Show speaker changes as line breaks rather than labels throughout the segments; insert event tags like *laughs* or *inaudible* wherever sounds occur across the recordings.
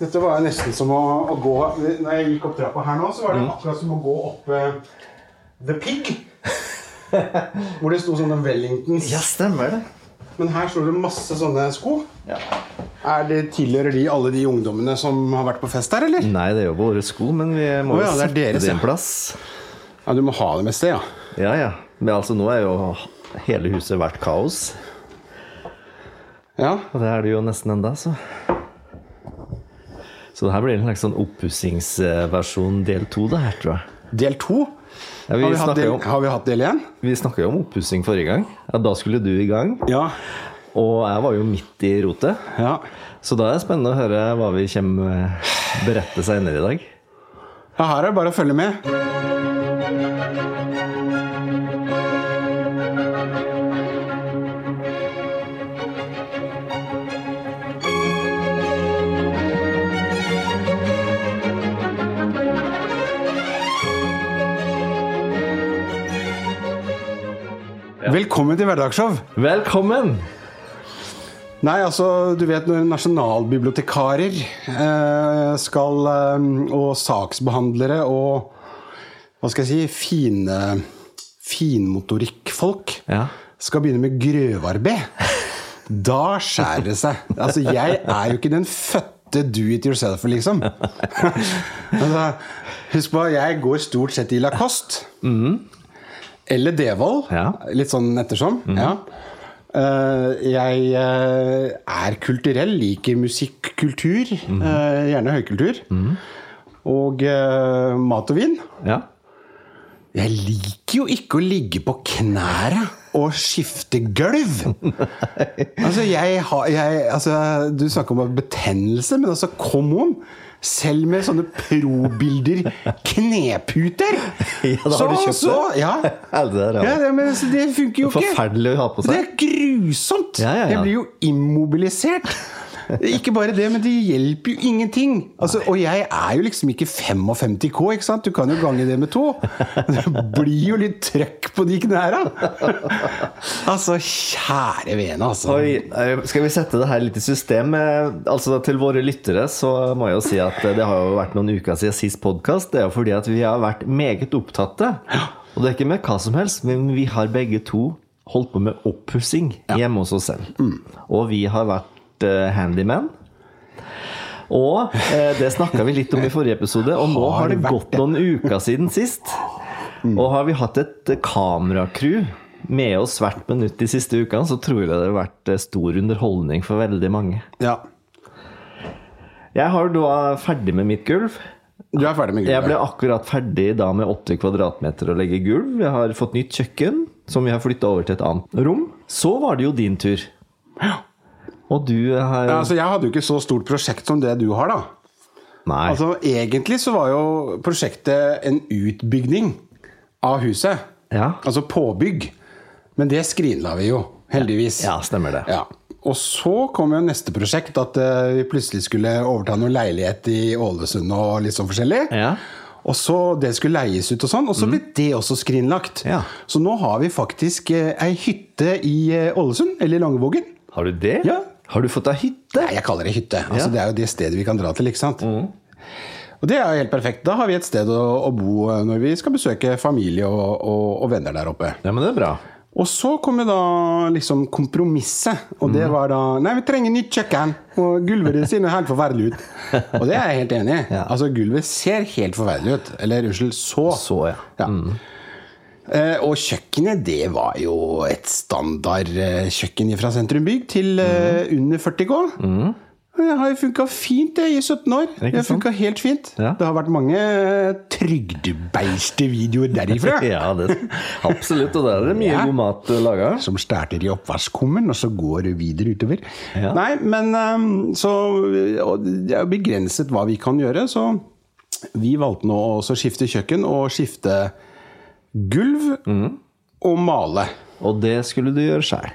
Dette var jo nesten som å, å gå Når jeg gikk opp trappa her nå, så var det akkurat som å gå opp eh, The Pig. *laughs* Hvor det sto sånne Wellingtons.
Ja, stemmer det.
Men her står det masse sånne sko.
Ja.
Er det, tilhører de alle de ungdommene som har vært på fest her, eller?
Nei, det er jo våre sko, men vi
Å
må jo
ja, det er
sette det
deres,
i en
ja.
plass.
Ja, Du må ha dem et sted, ja.
Ja, ja. Men altså, nå er jo hele huset vært kaos.
ja.
Og det er det jo nesten enda, så. Så det her blir en slags sånn oppussingsversjon del to, det her, tror jeg.
Del to.
Ja, vi,
Har vi, hatt
snakket
del,
jo om,
har vi hatt del én?
vi snakket jo om oppussing forrige gang. Ja, da skulle du i gang.
Ja.
Og jeg var jo midt i rotet.
ja.
Så da er det spennende å høre hva vi kommer eh, berette senere i dag.
Ja, Her er det bare å følge med. Velkommen til Hverdagsshow.
Velkommen!
Nei, altså, du vet når nasjonalbibliotekarer eh, skal eh, Og saksbehandlere og Hva skal jeg si fine, Finmotorikkfolk
Ja.
skal begynne med grøvarbeid. Da skjærer det seg. Altså, jeg er jo ikke den fødte do it yourself, liksom. *laughs* altså, husk på, jeg går stort sett i Lacoste. Eller Devold.
Ja. Mhm.
Litt sånn ettersom. Ja. Eh, jeg eh, er kulturell, liker musikk, kultur.
Mhm.
eh, gjerne høykultur. Og eh, mat og vin.
Ja.
Jeg liker jo ikke å ligge på knæra og skifte gulv!
*laughs*
altså, jeg har jeg, altså, Du snakker om betennelse, men altså, come on! Selv med sånne probilder kneputer!
*laughs* Ja, da har du kjøpt det.
Ja,
Ja, det er det.
ja det, men altså, det funker jo ikke!
Forferdelig å ha på
Det
seg.
er grusomt!
Ja, ja, ja.
Jeg blir jo immobilisert. Ikke bare det, men det hjelper jo ingenting. Altså, og jeg er jo liksom ikke 55K, ikke sant? Du kan jo gange det med to. Det blir jo litt trøkk på de knæra. Altså, kjære vene, altså.
Oi, eh, skal vi sette det her litt i system? Eh, Altså Til våre lyttere så må jeg jo si at eh, det har jo vært noen uker siden sist podkast. Det er jo fordi at vi har vært meget opptatte. Og det er ikke med hva som helst, men vi har begge to holdt på med oppussing hjemme hos oss selv. Og vi har vært eh, handyman. Og eh, det snakka vi litt om i forrige episode, og nå
Har
har det Mm.
vært
gått noen uker siden sist. Og har vi hatt et eh, kameracrew med oss hvert minutt de siste ukene, så tror jeg det har vært eh, stor underholdning for veldig mange.
Ja.
Jeg har da ferdig med mitt gulv.
Du er ferdig med
Jeg ble
gulvet.
akkurat ferdig da med 80 kvadratmeter å legge gulv. Jeg har fått nytt kjøkken, som vi har flytta over til et annet rom. Så var det jo din tur. Og du har
Ja, altså, jeg hadde jo ikke så stort prosjekt som det du har, da.
Nei.
Altså, egentlig så var jo prosjektet en utbygning av huset.
Ja.
Altså påbygg. Men det skrinla vi jo, heldigvis.
ja, stemmer det.
Ja. Og så kom jo neste prosjekt, at eh, vi plutselig skulle overta noen leilighet i Ålesund og litt sånn forskjellig.
Ja. Mm.
Og så Det skulle leies ut, og sånn, og så ble det også skrinlagt.
Ja.
Så nå har vi faktisk eh, ei hytte i eh, Ålesund, eller i Langevågen.
Har du det?
Ja.
Har du fått deg hytte?
Nei, jeg kaller det hytte. Altså,
Ja. Mm.
Det er jo det stedet vi kan dra til. ikke sant? Og det er jo helt perfekt. Da har vi et sted å, å bo eh, når vi skal besøke familie og, og, og venner der oppe.
Ja, men det er bra.
Og så kom jo da liksom kompromisset, og
Mhm.
det var da Nei, vi trenger nytt kjøkken! Og gulvet ser jo helt forferdelig
*laughs*
ut. Og det er jeg helt enig i.
Ja.
Altså, gulvet ser helt forferdelig ut. Eller unnskyld, så.
Så, ja.
Ja. Eh, og kjøkkenet, det var jo et standard eh, kjøkken fra sentrum bygg til eh, under 40 K. Og Det har jo funka fint det, i 17 år. Det har funka helt fint.
Ja.
Det har vært mange eh, trygdebeiste-videoer derifra.
*laughs* Ja, det, absolutt. Og der er det mye
Ja.
god mat eh, laga.
Som starter i oppvaskkummen, og så går det videre utover.
Ja.
Nei, men ehm, så og Det er jo begrenset hva vi kan gjøre, så vi valgte nå å også skifte kjøkken og skifte gulv og male.
Og det skulle du gjøre sjæl.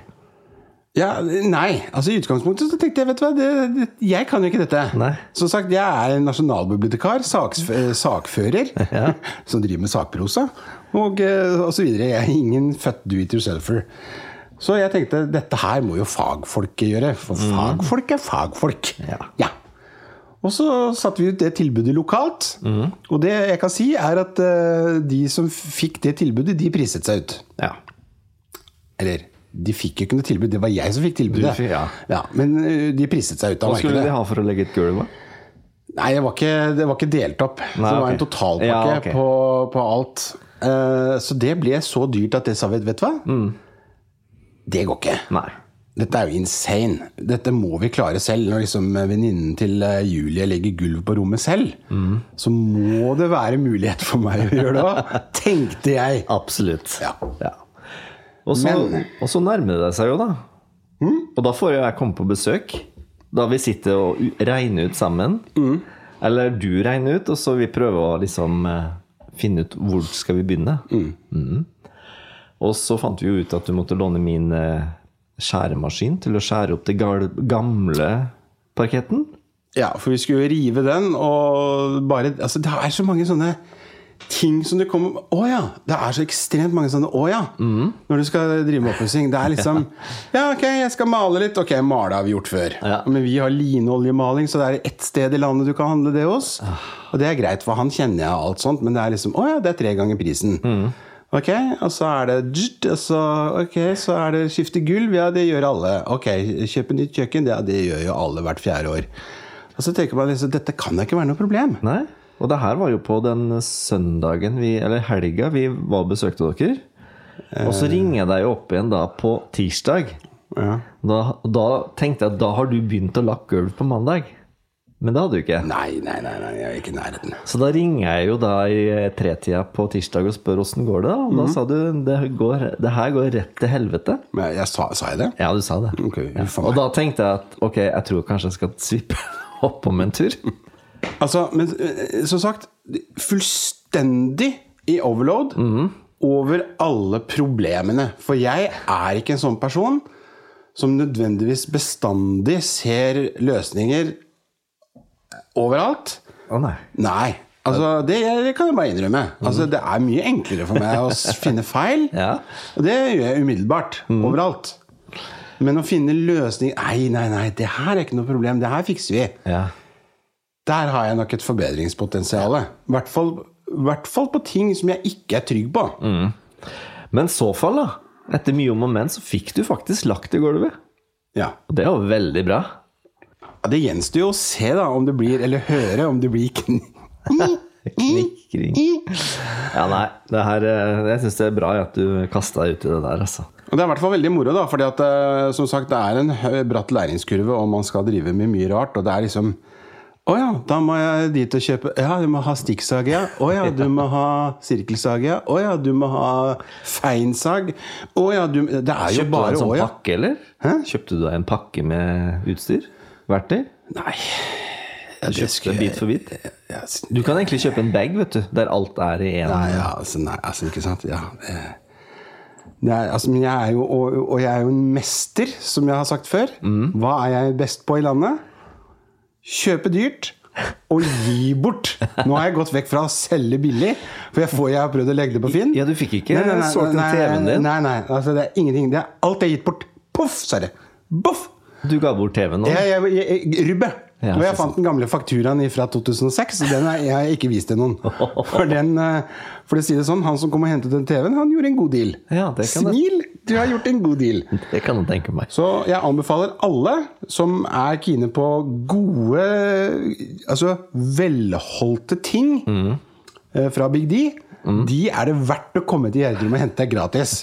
Ja, nei, altså I utgangspunktet så tenkte jeg vet du hva, det, det, jeg kan jo ikke dette.
Nei. Mm.
Som sagt, jeg er en nasjonalbibliotekar, saks, eh, sakfører,
*laughs* Ja.
som driver med sakprosa, og, eh, og så videre. Jeg er ingen født do it yourselfer. Så jeg tenkte
Mm.
dette her må jo fagfolket gjøre, for fagfolk er fagfolk.
Ja.
Ja. Og så satte vi ut det tilbudet lokalt.
Mm.
Og det jeg kan si, er at eh, de som fikk det tilbudet, de priset seg ut.
Ja.
Eller de fikk jo ikke noe tilbud, det var jeg som fikk tilbudet.
Du fikk- ja.
men eh, de priset seg ut av
Hva skulle
markedet.
de ha for å legge et gulv? da?
Nei, det var ikke, det var ikke delt opp. Så
Nei,
det var
ok.
en totalpakke
Ja, ok.
på, på alt. Eh, så det ble så dyrt at det sa vi, vet du hva?
Mm.
Det går ikke.
Nei.
Dette er jo insane. Dette må vi klare selv. Når liksom venninnen til eh, Julie legger gulv på rommet selv,
Mm.
så må det være mulighet for meg å gjøre det òg, tenkte jeg.
Absolutt.
Ja.
Ja. Og, så,
Men-
og så nærmer det seg jo, da. Og da får jo jeg komme på besøk. Da vi sitter og u- regner ut sammen. Eller du regner ut, og så vi prøver å liksom eh, finne ut hvor skal vi begynne. Mhm. Og så fant vi jo ut at du måtte låne min eh, skjæremaskin til å skjære opp det gal- gamle parketten.
Ja, for vi skulle jo rive den, og bare Altså, det er så mange sånne ting som det kommer Å ja! Det er så ekstremt mange sånne å ja! Når du skal drive med oppussing. Det er liksom Ja, ok, jeg skal male litt. Ok, male har vi gjort før.
Ja.
Men vi har linoljemaling, så det er ett sted i landet du kan handle det hos. Og det er greit, for han kjenner jeg og alt sånt, men det er liksom Å ja, det er tre ganger prisen. Ok, og så er det dzt, og så, Ok, så er det skifte gulv. Ja, det gjør alle. Ok, kjøpe nytt kjøkken. Ja, det gjør jo alle hvert fjerde år. Og så tenker man liksom Dette kan da ikke være noe problem.
Nei. Og det her var jo på den søndagen vi, eller helga vi var og besøkte dere. Og så ringer jeg deg jo opp igjen da på tirsdag.
Ja.
Da, da tenkte jeg at da har du begynt å lakke gulv på mandag. Men det hadde du ikke.
Nei, nei, nei, nei, jeg er ikke i nærheten.
Så da ringer jeg jo da i eh, tretida på tirsdag og spør åssen går det. da?" Og da sa du det, går, det her går rett til helvete.
Men jeg sa, sa jeg det?
Ja, du sa det.
Ok, huff a
Og
meg.
da tenkte jeg at ok, jeg tror kanskje jeg skal svippe *laughs* oppom en tur.
Altså, men eh, som sagt, fullstendig i overload over alle problemene. For jeg er ikke en sånn person som nødvendigvis bestandig ser løsninger overalt.
Å nei.
Nei. Altså, det, det kan jeg bare innrømme. Altså, det er mye enklere for meg å s- finne feil.
Ja.
Og det gjør jeg umiddelbart. Overalt. Men å finne løsning Nei, nei, nei, det her er ikke noe problem. Det her fikser vi.
Ja.
Der har jeg nok et forbedringspotensial. I hvert fall, hvert fall på ting som jeg ikke er trygg på.
Men så fall, da. Etter mye om og men, så fikk du faktisk lagt det gulvet.
Ja.
Og det var veldig bra.
Ja, Det gjenstår jo å se, da, om det blir Eller høre om det blir *laughs* kn...
Knikring.
Mm.
Ja, nei, det her eh, Jeg syns det er bra at du kasta deg ut i det der, altså.
Og Det er i hvert fall veldig moro, da, fordi at, eh, som sagt, det er en hø- bratt læringskurve, og man skal drive med mye rart. Og det er liksom Å ja, da må jeg dit og kjøpe Ja, du må ha stikksag, ja. Å ja, du må ha sirkelsag, ja. Å ja, du må ha feinsag. Å ja, du Det er jo
Kjøpte du
bare
deg en
å,
sånn
ja.
pakke, eller? Kjøpte du deg en pakke med utstyr? Verktøy?
Nei.
Du
det
kjøpte
skulle-
bit for bit?
Ja, s-
Du kan egentlig kjøpe en bag, vet du, der alt er i én.
Nei, ja, altså, nei, altså, ikke sant? Ja. eh. Det er, altså, men jeg er jo, og, og jeg er jo en mester, som jeg har sagt før.
Mm.
Hva er jeg best på i landet? Kjøpe dyrt og gi bort. Nå har jeg gått vekk fra å selge billig, for jeg, får, jeg har prøvd å legge det på Finn.
Ja, du fikk ikke solgt den TV-en din.
Nei, nei, altså, det er ingenting. Det er alt jeg har gitt bort. Poff, sa det. Boff!
Du ga bort TV-en nå?
Jeg, jeg, jeg, jeg, rubbe.
Ja,
og
så
jeg fant den gamle fakturaen fra 2006. og Den har jeg ikke vist til noen. For, den, eh, for å si det sånn, han som kom og hentet den TV-en, han gjorde en god deal.
Ja, det kan jeg-
Smil! Du har gjort en god deal.
Det kan du tenke meg.
Så jeg anbefaler alle som er kine på gode, altså velholdte ting eh, fra Big D, de er det verdt å komme til Gjerdrum og hente gratis.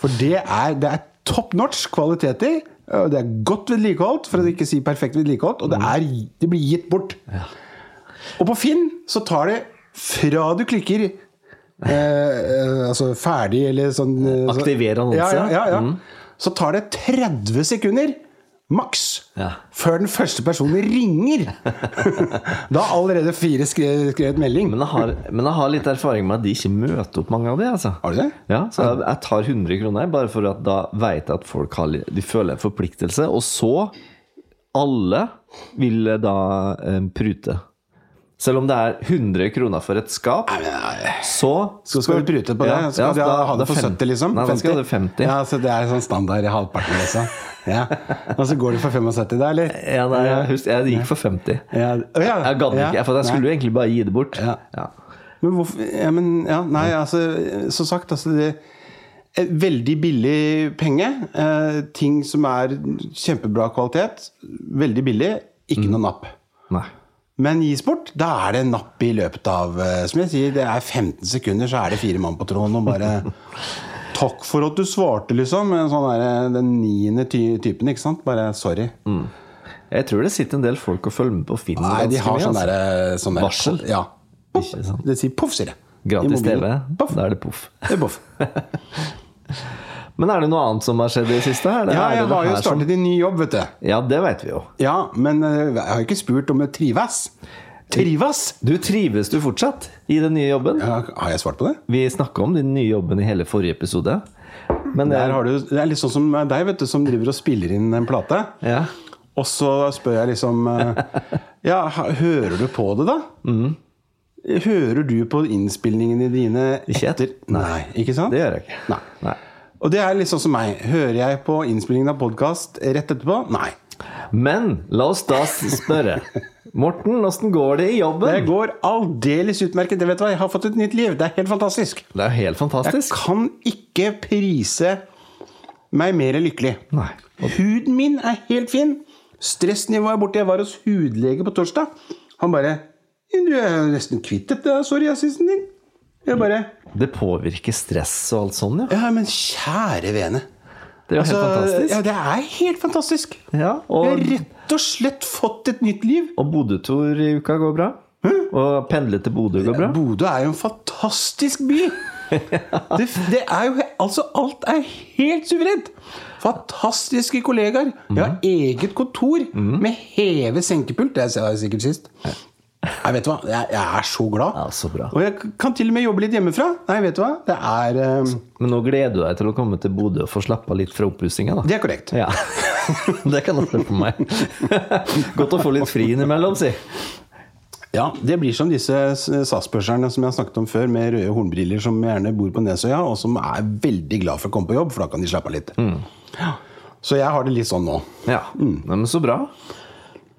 For det er, det er topp norsk kvaliteter. og Det er godt vedlikeholdt, for å ikke si perfekt vedlikeholdt, og det, er, det blir gitt bort. Og på Finn så tar det fra du klikker eh, eh, altså ferdig eller sånn eh, så-
Aktiver annonse.
Ja, ja, ja, ja.
Mm.
Så tar det 30 sekunder maks
Ja.
før den første personen
*laughs*
ringer. da har allerede fire skrevet, skrevet melding.
Men jeg, har, men jeg har litt erfaring med at de ikke møter opp mange av de, altså.
Har du det?
Ja, så jeg, jeg tar 100 kroner, bare for at da vet jeg at folk har, li- de føler en forpliktelse. Og så alle vil da eh, prute. Selv om det er 100 kroner for et skap,
Nei, men, nei.
så
Så skal du prute på det?
Ja,
Skal
ja,
du ha-
da-
ha det
da
for
fem-
70, liksom?
Nei, da skal du ha det 50.
Ja, så det er sånn standard i halvparten, liksom. Ja. Og så går du for 75 da, eller?
Ja, nei, jeg, husk, jeg gikk for 50.
Ja. Å, ja.
Jeg gadd
Ja.
ikke, for jeg
Nei.
skulle jo egentlig bare gi det bort.
Ja.
Ja.
Men hvorfor ja, men, ja, Nei, altså, som sagt, altså det er Veldig billig penge. Eh, ting som er kjempebra kvalitet. Veldig billig.
Mm.
Ikke noe napp.
Nei.
Men gis bort, da er det napp i løpet av eh, Som jeg sier, det er 15 sekunder, så er det fire mann på tråden og bare
*laughs*
Takk for at du svarte, liksom. En Sånn der, den niende ty typen, ikke sant. Bare sorry.
Mm, Jeg tror det sitter en del folk og følger med på Finn.
Nei, de
ganske
har
mye,
sånn
altså.
derre sånn der-
Varsel?
Ja. Poff.
Ikke sant.
Det sier poff, sier det.
Gratis
I mobilen.
TV.
Poff.
Da er det poff.
Det er poff.
Men er det noe annet som har skjedd i det siste? her?
Ja, jeg har jo
startet
startet i ny jobb, vet du.
Ja, det vet vi jo.
Ja, men eh, jeg har ikke spurt om jeg trives. Trives?
Du trives du fortsatt i den nye jobben?
Ja, har jeg svart på det?
Vi snakka om den nye jobben i hele forrige episode. Men det
Der har du, det er litt sånn som deg, vet du, som driver og spiller inn en plate.
eh, ja.
Og så spør jeg liksom eh, Ja, ha- hører du på det, da? Mm. Hører du på innspillingene dine
Ikke
etter?
et-
Nei, ikke sant?
Det gjør jeg ikke.
Nei. Og det er litt sånn som meg. Hører jeg på innspillingen av podkast rett etterpå? Nei.
Men la oss da spørre. Morten, åssen går det i
Det
jobben?
går aldeles utmerket. Jeg vet hva, jeg har fått et nytt liv. Det er helt fantastisk.
Det er jo helt
Jeg
fantastisk.
kan ikke prise meg mer lykkelig.
Nei.
Huden min er helt fin. Stressnivået er borte. Jeg var hos hudlege på torsdag. Han bare 'Du er jo nesten kvitt dette psoriasisen din'. Jeg bare
Det påvirker stress og alt sånn, ja.
Ja, men kjære vene.
Det er jo helt
Altså, ja,
fantastisk.
det er helt fantastisk.
Ja,
Jeg har
og,
rett og slett fått et nytt liv.
og Bodø-tur i uka går bra. Og pendle til Bodø går bra.
Bodø er jo en fantastisk
*laughs*
by. Det, det er jo Altså, alt er helt suverent. Fantastiske kollegaer. Jeg
Mhm.
har eget kontor med heve senkepult. Det sa jeg sikkert sist. Nei, vet du hva? Jeg, jeg er så glad.
Ja, så bra.
Og jeg kan til og med jobbe litt hjemmefra. Nei, vet du hva? Det er eh,
Men nå gleder du deg til å komme til Bodø og få slappa litt fra oppussinga, da.
Det er korrekt.
Ja. *laughs* Det kan du se på meg. *laughs* Godt å få litt fri innimellom, si.
Ja, Det blir som disse SAS-børserne som jeg har snakket om før, med røde hornbriller som gjerne bor på Nesøya, og som er veldig glad for å komme på jobb, for da kan de slappe av litt.
Mm.
Ja. Så jeg har det litt sånn nå.
Ja, Nei, men så bra.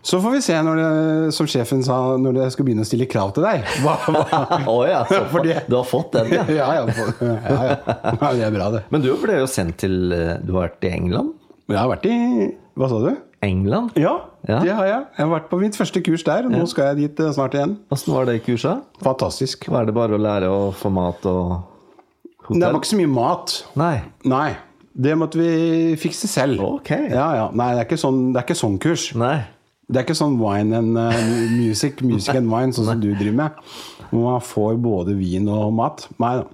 Så får vi se, når det, som sjefen sa, når det skal begynne å stille krav til deg. Hva, hva?
*laughs* Å ja, så
Fordi-
fa- du har fått den,
*laughs* Ja, ja,
ja.
ja, ja. ja, Det er bra, det.
Men du ble jo sendt til eh, Du har vært i England?
Men jeg har vært i Hva sa du?
England?
Ja,
Ja.
det har jeg. Jeg har vært på mitt første kurs der, og nå skal jeg dit eh, snart igjen.
Åssen var det i kursa?
Fantastisk.
Var det bare å lære å få mat og
Det var
hotell?
ikke så mye mat.
Nei.
Nei. Det måtte vi fikse selv.
Ok.
Ja, ja. Nei, det er ikke sånn, det er ikke sånn kurs.
Nei.
Det er ikke sånn wine and eh, music, music and wine, sånn som du driver med. Hvor man får både vin og mat. Nei da.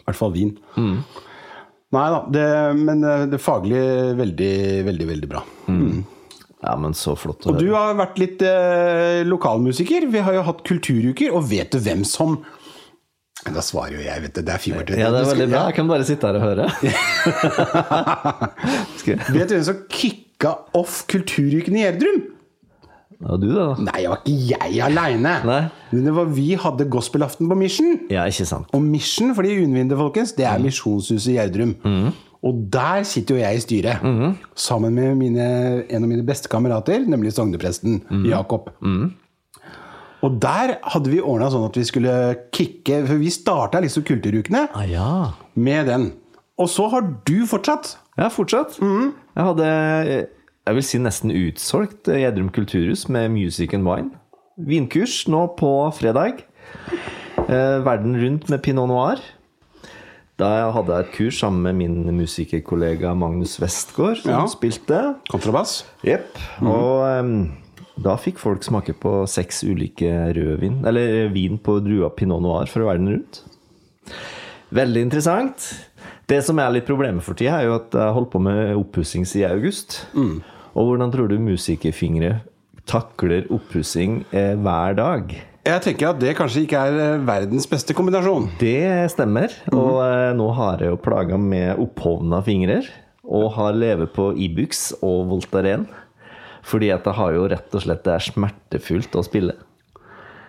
I hvert fall vin.
Mm.
Nei da. Det, men eh, det faglige veldig, veldig, veldig bra.
Ja, men så flott å
Du
høre.
har vært litt eh, lokalmusiker. Vi har jo hatt kulturuker, og vet du hvem som Men Da svarer jo jeg, vet du. Det er fivert.
Ja, det er veldig bra. Jeg kan bare sitte her og høre. Skal jeg-
Vet du hvem som kicka off kulturuken i Gjerdrum?
Det var du, det, da.
Nei, det var ikke jeg aleine.
Nei.
Det var vi hadde gospelaften på Mission.
Ja, ikke sant.
Og Mission, for de unnvinde, folkens, det er Misjonshuset i Gjerdrum. Og der sitter jo jeg i styret, sammen med mine, en av mine beste kamerater, nemlig sognepresten Jakob. Og der hadde vi ordna sånn at vi skulle kicke For vi starta liksom Kulturukene
Ah, ja.
med den. Og så har du fortsatt.
Ja, fortsatt. Jeg hadde jeg vil si nesten utsolgt Gjedrum kulturhus med Music and Wine. Vinkurs nå på fredag. Eh, verden rundt med pinot noir. Da hadde jeg et kurs sammen med min musikerkollega Magnus Westgård, som
Ja.
spilte.
Kontrabass.
Jepp. Og em, da fikk folk smake på seks ulike rødvin, eller eh, vin på drua pinot noir fra verden rundt. Veldig interessant. Det som er litt problemet for tida, er jo at jeg har holdt på med oppussing siden august. Og hvordan tror du musikerfingre takler oppussing eh, hver dag?
Jeg tenker at det kanskje ikke er eh, verdens beste kombinasjon.
Det stemmer. Og eh, nå har jeg jo plaga med opphovna fingrer. Og har leve på Ibux og Voltaren. Fordi at det har jo rett og slett Det er smertefullt å spille.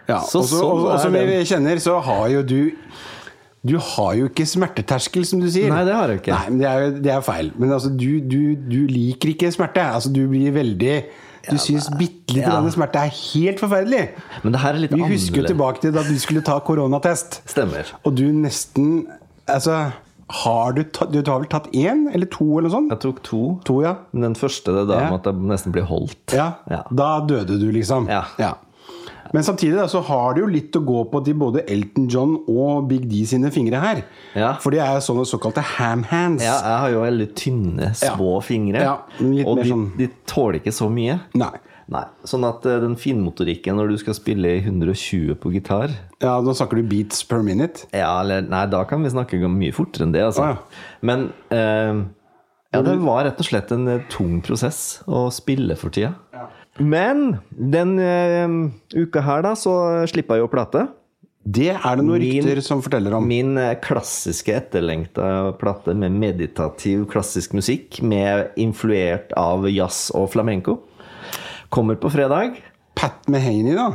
Ja,
Så
og så-
sånn
og, og
er
som
den.
vi kjenner, så har jo du Du har jo ikke smerteterskel, som du sier.
Nei, det har jeg ikke.
Nei, men det er jo det er feil. Men altså, du, du, du liker ikke smerte. Altså, du blir veldig Du syns bitte lite
ja.
grann smerte er helt forferdelig.
Men det her er litt
Vi husker jo
annerledes.
tilbake til da du skulle ta koronatest,
Stemmer.
og du nesten Altså, har du tatt Du har vel tatt én eller to eller noe sånt?
Jeg tok to.
To, ja.
Men den første det da
Ja.
måtte jeg nesten bli holdt.
Ja,
Ja.
Da døde du, liksom.
Ja.
Men samtidig da, så har det jo litt å gå på til både Elton John og Big D sine fingre her.
Ja.
For de er jo sånne såkalte ham hands.
Ja, jeg har jo veldig tynne, små fingre.
Ja, litt
og
mer
de,
sånn-
de tåler ikke så mye.
Nei.
Nei. Sånn at eh, den finmotorikken når du skal spille i 120 på gitar
Ja, Nå snakker du beats per minute.
Ja, eller Nei, da kan vi snakke om mye fortere enn det, altså.
Å, ja.
Men eh, ja, det var rett og slett en eh, tung prosess å spille for tida. Men den eh, uka her, da, så slipper jeg jo plate.
Det er det noen
Min-
rykter som forteller om.
Min eh, klassiske etterlengta plate med meditativ klassisk musikk, med influert av jazz og flamenco, kommer på fredag.
Pat Mehaney, da.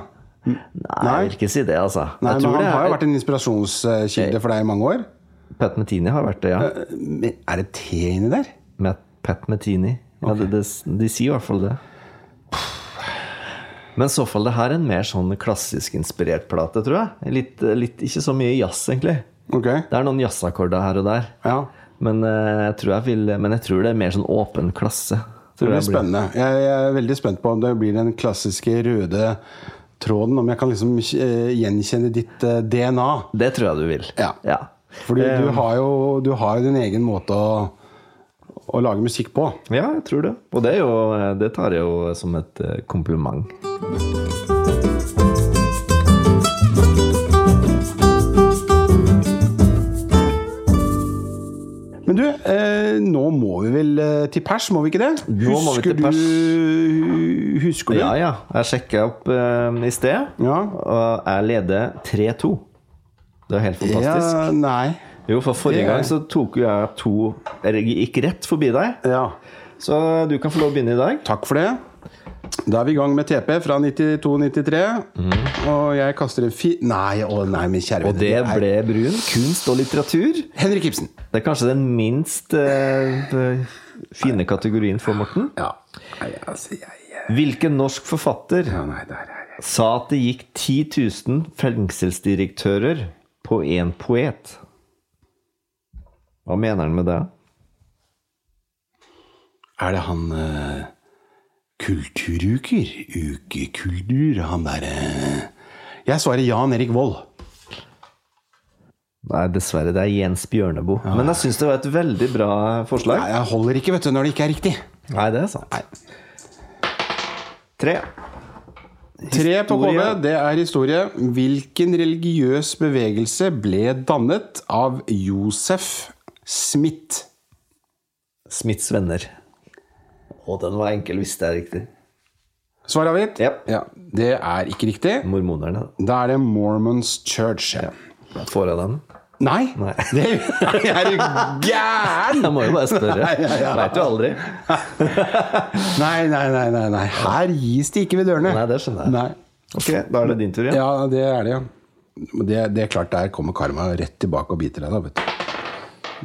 Nei, jeg vil ikke si det, altså.
Nei,
jeg
men
tror
han
det
har jo
er
vært en inspirasjonskilde for deg i mange år. Eh,
Pat Metini har vært det, ja.
Men Er det te inni der?
Med Pat Metini. Ja, det, det, de sier i hvert fall det. Men i så fall det her er en mer sånn klassisk inspirert plate, tror jeg. Litt, litt, ikke så mye jazz, egentlig.
Ok.
Det er noen jazzakkorder her og der.
Ja.
Men, eh, jeg tror jeg vil, men jeg tror det er mer sånn åpen klasse.
Det
Tror
blir
jeg blir.
spennende. Jeg, jeg er veldig spent på om det blir den klassiske røde tråden. Om jeg kan liksom eh, gjenkjenne ditt eh, DNA.
Det tror jeg du vil.
Ja. For du,
Eh.
du, har, jo, du har jo din egen måte å, å lage musikk på.
Ja, jeg tror det. Og det, er jo, det tar jeg jo som et eh, kompliment.
Men du, eh, nå må vi vel eh, til pers, må vi ikke det?
Nå må vi til
du Husker du?
Ja, ja. Jeg sjekka opp eh, i sted,
Ja.
og jeg leder 3-2. Det er helt fantastisk.
Ja, nei.
Jo, for forrige
Det er-
gang så tok jo jeg to Eller jeg gikk rett forbi deg.
Ja.
Så du kan få lov å begynne i dag.
Takk for det. Da er vi i gang med TP fra 92-93. Og jeg kaster en fi... Nei, å nei, min kjære
Mhm. Og
venn.
det
er-
ble brun. Kunst og litteratur.
Henrik Ibsen.
Det er kanskje den minst eh, fine kategorien for Morten.
Ja. Nei, altså, jeg
Hvilken norsk forfatter
Ja, nei, der er jeg.
sa at det gikk 10 000 fengselsdirektører på én poet? Hva mener han med det?
Er det han eh, Kulturuker? Ukekultur? Han derre Jeg svarer Jan Erik Vold.
Nei, dessverre. Det er Jens Bjørneboe. Men jeg syns det var et veldig bra forslag.
Nei, jeg holder ikke, vet du, når det ikke er riktig.
Nei, det er sant. Tre.
Tre på KV,
Historie.
det er historie. Hvilken religiøs bevegelse ble dannet av Josef Smith?
Smiths venner. Å, den var enkel hvis det er riktig.
Svar avgitt?
Jep.
Ja, det er ikke riktig.
Mormonerne.
Da er det Mormons Church.
da. Får jeg den?
Nei!
Nei.
Det jeg er jo gæren!
*laughs* Jeg må jo bare spørre. Veit jo aldri.
Nei, nei, nei, nei, nei. Her gis det ikke ved dørene.
Nei, det skjønner jeg.
Nei.
Ok, Da er det din tur, ja.
Ja, det er det, ja. Men Det, det er klart, der kommer karma rett tilbake og biter deg, da, vet du.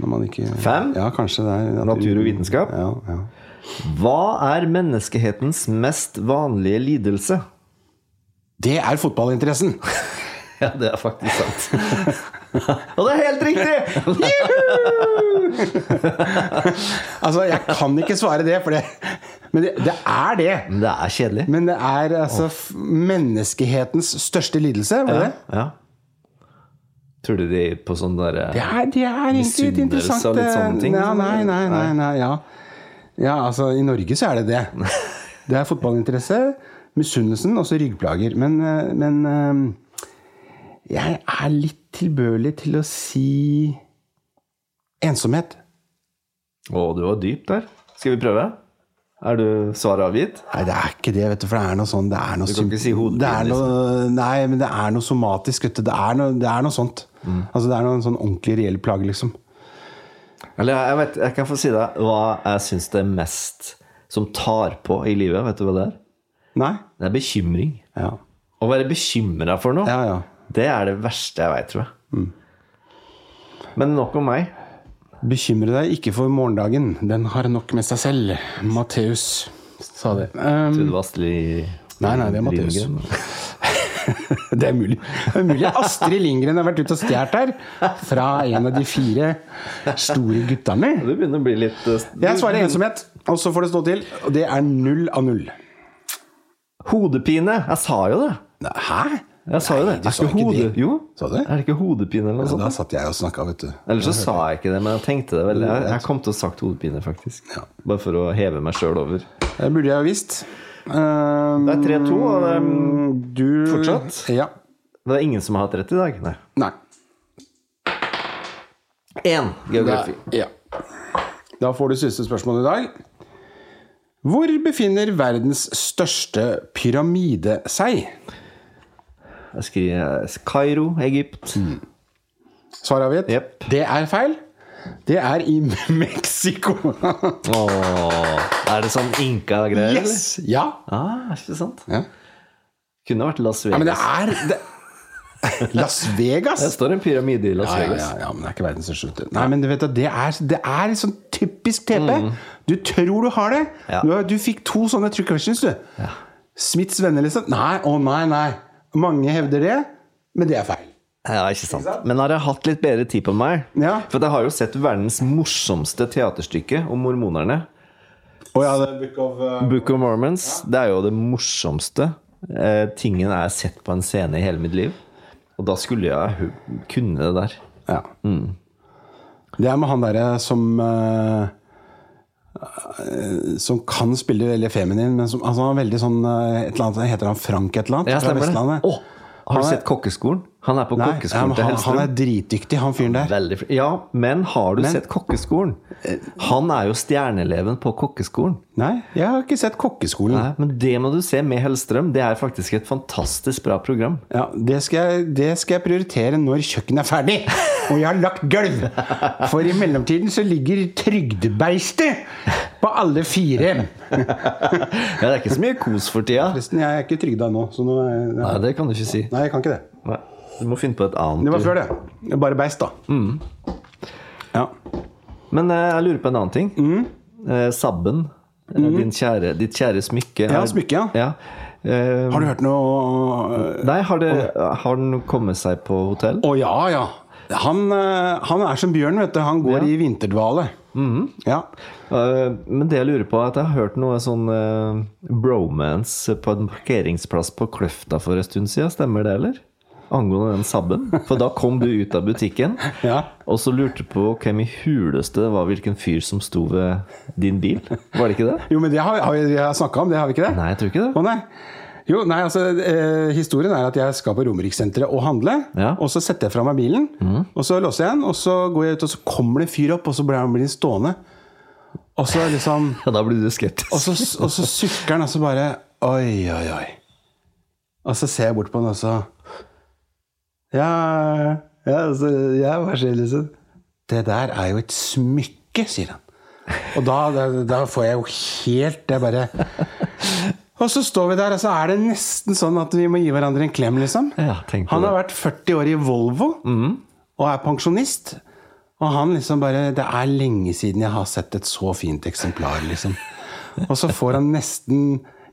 Når man ikke
Fem?
Ja, kanskje det er
Natur og vitenskap.
Ja, ja.
Hva er menneskehetens mest vanlige lidelse?
Det er fotballinteressen!
Ja, det er faktisk sant. *laughs* Og det er helt *laughs* riktig!
Altså, jeg kan ikke svare det, for det Men det, det er det!
Men det er kjedelig.
Men det er altså f menneskehetens største lidelse. Var det? det?
Ja. Tror du de på sånn derre
Det er, det er egentlig et
Misunnelse
interessant
og litt sånne ting,
Ja,
liksom,
nei, nei,
eller?
nei, nei, ja. ja, altså i Norge så er det
*laughs*
det. Det er fotballinteresse, misunnelsen og så ryggplager. Men, eh, men eh, jeg er litt tilbøyelig til å si ensomhet.
Å, du var dyp der. Skal vi prøve? Er du svaret avgitt?
Nei, det er ikke det, vet du, for det er noe sånn Det er noe,
kan
sym-
ikke si hodepine, liksom.
det er noe Nei, men det er noe somatisk, vet du. Det er noe, det er noe sånt.
Mm.
Altså, det er noe sånn ordentlig reell plage, liksom.
Eller jeg- jeg vet, jeg kan få si deg hva jeg syns det er mest som tar på i livet. Vet du hva det er?
Nei?
Det er bekymring.
Ja.
Å være bekymra for noe,
Ja, Mm. ja.
det er det verste jeg veit, tror jeg. Men nok om meg.
Bekymre deg ikke for morgendagen, den har nok med seg selv. Matteus sa det. Um,
Trodde det var Astrid
Mm. Nei, nei, det er Matteus.
Lindgren.
*laughs* det er mulig. Det er mulig Astrid Lindgren har vært ute og stjålet her. Fra en av de fire store guttene.
Du begynner å bli litt eh, du-
Jeg svarer ensomhet, og så får det stå til. Og det er null av null.
Hodepine! Jeg sa jo det.
Hæ?
Jeg sa jo det.
du
Er
sa
ikke
ikke
hode...
det.
Jo.
Sa du det?
Er det ikke hodepine eller noe sånt?
Da satt jeg og snakka, vet du.
Eller så sa jeg ikke det, men jeg tenkte det vel. Jeg, jeg kom til å sagt hodepine, faktisk.
Ja.
Bare for å heve meg sjøl over.
Det burde jeg jo visst. Um,
Det er 3-2, og det er,
du
Fortsatt?
Ja.
det er ingen som har hatt rett i dag. Nei.
Nei.
Én geografi.
Ja. Da får du siste spørsmål i dag. Hvor befinner verdens største pyramide seg?
Jeg skriver eh, Kairo, Egypt.
Mm. Svar avgitt?
Jepp.
Det er feil. Det er i *laughs* Mexico.
Åh, er det sånn inka-greier? eller?
yes! Ja.
Ah, er ikke sant?
ja.
Kunne vært Las
Men
Vegas.
det er det... Las Vegas?
det står en pyramide i Las
Ja, ja,
Vegas.
ja, ja, men det er ikke verdens største ute. Nei, men du vet at det er, det er sånn typisk TP. Du tror du har det.
Mm. Ja.
Du, har- du fikk to sånne trick questions, du. Smiths venner, liksom. Nei, å nei, nei. Mange hevder det, men det er feil.
Ja, ikke sant. Men har jeg hatt litt bedre tid på meg?
Ja.
For jeg har jo sett verdens morsomste teaterstykke om mormonerne.
Å ja, det er Book of uh,
Book of Mormons. Det er jo det morsomste eh, tingen jeg har sett på en scene i hele mitt liv. Og da skulle jeg hu- kunne det der.
Ja.
Mm.
Det er med han derre som eh, som kan spille veldig feminin, men som altså, han er veldig sånn eh, et eller annet, Heter han Frank et eller annet?
Ja,
fra
stemmer det.
Vestlandet?
Åh, har
Han
du
er-
sett Kokkeskolen? Han er på
Nei, ja,
kokkeskolen
men
til
han, han
Hellstrøm.
er dritdyktig, han fyren der.
Veldig fl- Ja, men har du
Men-
sett Kokkeskolen? Han er jo stjerneeleven på Kokkeskolen.
Nei, jeg har ikke sett Kokkeskolen.
Nei, men det må du se med Hellstrøm. Det er faktisk et fantastisk bra program.
Ja, det skal, jeg, det skal jeg prioritere når kjøkkenet er ferdig og jeg har lagt gulv. For i mellomtiden så ligger trygdebeistet på alle fire.
Ja, det er ikke så mye kos for tida.
Forresten, jeg er ikke trygda nå, så nå er jeg,
Nei, det kan du ikke si.
Nei, jeg kan ikke det.
Nei. Du må finne på et annet.
Det var før, det. Bare beist, da. Ja.
Men eh, jeg lurer på en annen ting.
Mm.
Eh, sabben. eh, Din kjære, ditt kjære smykke.
Ja,
er-
smykket, ja.
ja. Eh,
Har du hørt noe øh,
Nei, har, det, har den kommet seg på hotell?
Å ja, ja. Han, eh, han er som bjørn, vet du. Han går i vinterdvale. Ja.
Eh, men det jeg lurer på, er at jeg har hørt noe sånn eh, bromance på en parkeringsplass på Kløfta for en stund siden. Stemmer det, eller? Angående den sabben. For da kom du ut av butikken,
Ja.
og så lurte du på hvem i huleste det var hvilken fyr som sto ved din bil. Var det ikke det?
Jo, men det har vi- har vi, vi snakka om, det har vi ikke det?
Nei, jeg tror ikke det.
Å nei. Jo, nei, altså eh, Historien er at jeg skal på Romerikssenteret og handle.
Ja.
Og så setter jeg fra meg bilen, og så låser jeg den. Og så går jeg ut, og så kommer det en fyr opp, og så blir han blir han stående. Og så liksom
Ja, da blir du skeptisk.
Og så, og så sukker han, og så bare Oi, oi, oi. Og så ser jeg bort på han, og så Ja, ja, altså, ja hva skjer, liksom? Det der er jo et smykke, sier han. Og da, da, da får jeg jo helt Det bare Og så står vi der, og så er det nesten sånn at vi må gi hverandre en klem, liksom.
Ja, tenk på
Han
det.
har vært 40 år i Volvo og er pensjonist. Og han liksom bare Det er lenge siden jeg har sett et så fint eksemplar, liksom. Og så får han nesten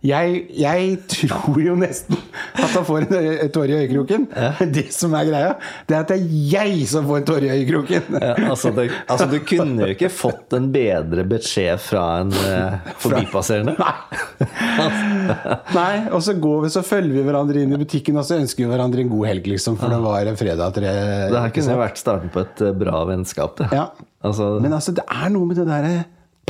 jeg, jeg tror jo nesten at han får en, øye- en tåre i øyekroken. *laughs* Det som er greia, det er at det er jeg som får en tåre i øyekroken!
Ja, altså, det, altså, du kunne jo ikke fått en bedre beskjed fra en eh, forbipasserende.
*laughs* Nei, og så går vi, så følger vi hverandre inn i butikken, og så ønsker vi hverandre en god helg, liksom. For det var en fredag tre
Det her kunne jo vært starten på et eh, bra vennskap. Det.
Ja.
Altså,
Men altså, det er noe med det derre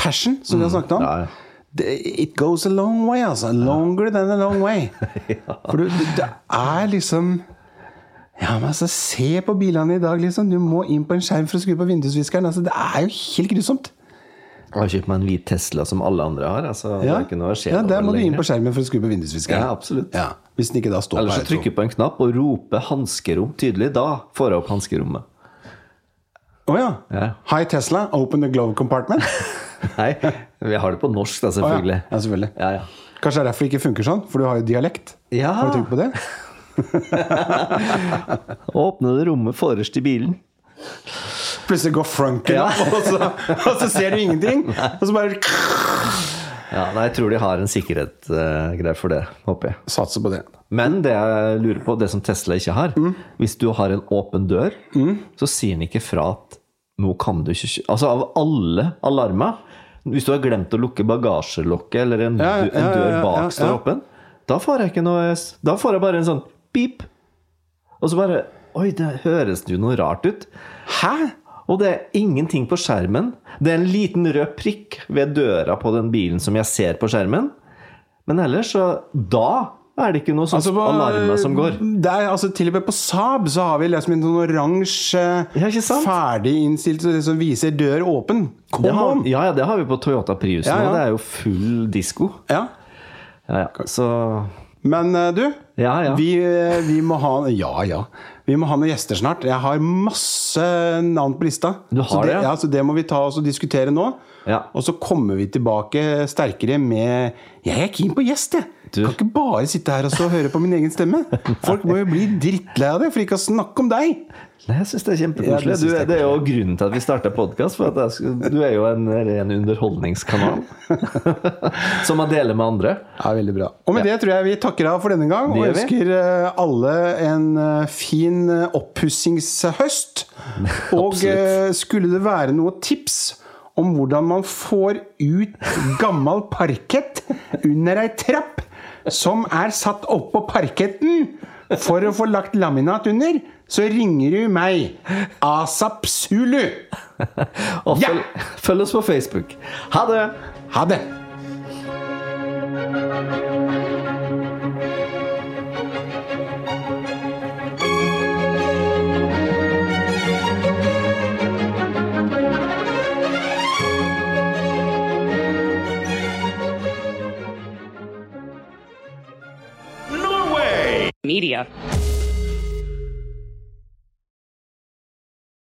passion som vi har snakket om.
Mm. ja, ja.
Det, it goes a long way, altså. Longer than a long
*laughs*
way. For du, det, det er liksom Ja, men altså, se på bilene i dag, liksom. Du må inn på en skjerm for å skru på vindusviskeren. Altså, det er jo helt grusomt.
jeg har kjøpt meg en hvit Tesla som alle andre har. Altså, Det er ikke noe å skje
ja der må du inn på
lenger.
skjermen for å skru på vindusviskeren.
Ja, absolutt.
Ja, Hvis den ikke da står
Eller
på
så trykker du på en knapp og roper 'hanskerom' tydelig. Da får jeg opp hanskerommet. *laughs*
Å ja.
Ja.
Hi, Tesla. Open the glove
*laughs*
compartment.
Nei, vi har det på norsk, da,
Å
selvfølgelig.
ja. ja, selvfølgelig.
Ja, ja.
Kanskje det er derfor det ikke funker sånn, for du har jo dialekt.
Ja.
Har du tenkt på det?
Åpne det rommet forrest i bilen.
Plutselig går franken
Ja.
opp, og så, og så ser du
*laughs*
ingenting! Og så bare
Ja, nei, Jeg tror de har en sikkerhetsgreie for det, håper jeg.
Satser på det.
Men det jeg lurer på, det som Tesla ikke har
Mm.
Hvis du har en åpen dør, så sier den ikke fra at nå kan du ikke kjø- Altså av alle alarmer Hvis du har glemt å lukke bagasjelokket, eller en,
Ja, ja,
dø- en
ja,
dør
ja,
bak
ja,
står
ja.
åpen, da får jeg ikke noe s- Da får jeg bare en sånn pip. Og så bare Oi, det høres jo noe rart ut.
Hæ?
Og det er ingenting på skjermen. Det er en liten rød prikk ved døra på den bilen som jeg ser på skjermen. Men ellers, så Da er det ikke noe sånn
Altså, på-
alarmer som går.
Det er, altså, til og med på Saab så har vi liksom en sånn oransje
Ja, ikke sant?
ferdiginnstilt som som viser dør åpen. Kom
Det har,
on!
ja, ja, det har vi på Toyota Prius
Ja, ja.
nå. Det er jo full disko.
Ja.
Ja, ja. Så
Men eh, du,
Ja, ja.
Vi, eh, vi må ha Ja, ja. Vi må ha noen gjester snart. Jeg har masse navn på lista.
Du har
så
det, ja.
ja, så det må vi ta oss og diskutere nå.
Ja.
Og så kommer vi tilbake sterkere med Jeg er keen på gjest, jeg!
Du-
Kan ikke bare sitte her og så høre på min egen
*laughs*
stemme. Folk må jo bli drittlei av det, for ikke å snakke om deg!
Nei, jeg syns det
Ja,
er
det
kjempekoselig.
synes
Du,
jeg er
det er jo grunnen til at vi starta podkast. For at jeg skulle- du er jo en ren
*laughs*
underholdningskanal. Som man deler med andre.
Ja, veldig bra. Og med det tror jeg vi takker av for denne gang. Og
gjør vi.
ønsker eh, alle en eh, fin eh, *laughs* oppussingshøst. Og eh, skulle det være noe tips om hvordan man får ut gammel parkett under ei trapp som er satt oppå parketten for å få lagt laminat under, så ringer du meg. Asap Zulu.
Og
Ja!
følg, følg oss på Facebook. Ha det!
Ha det.
media.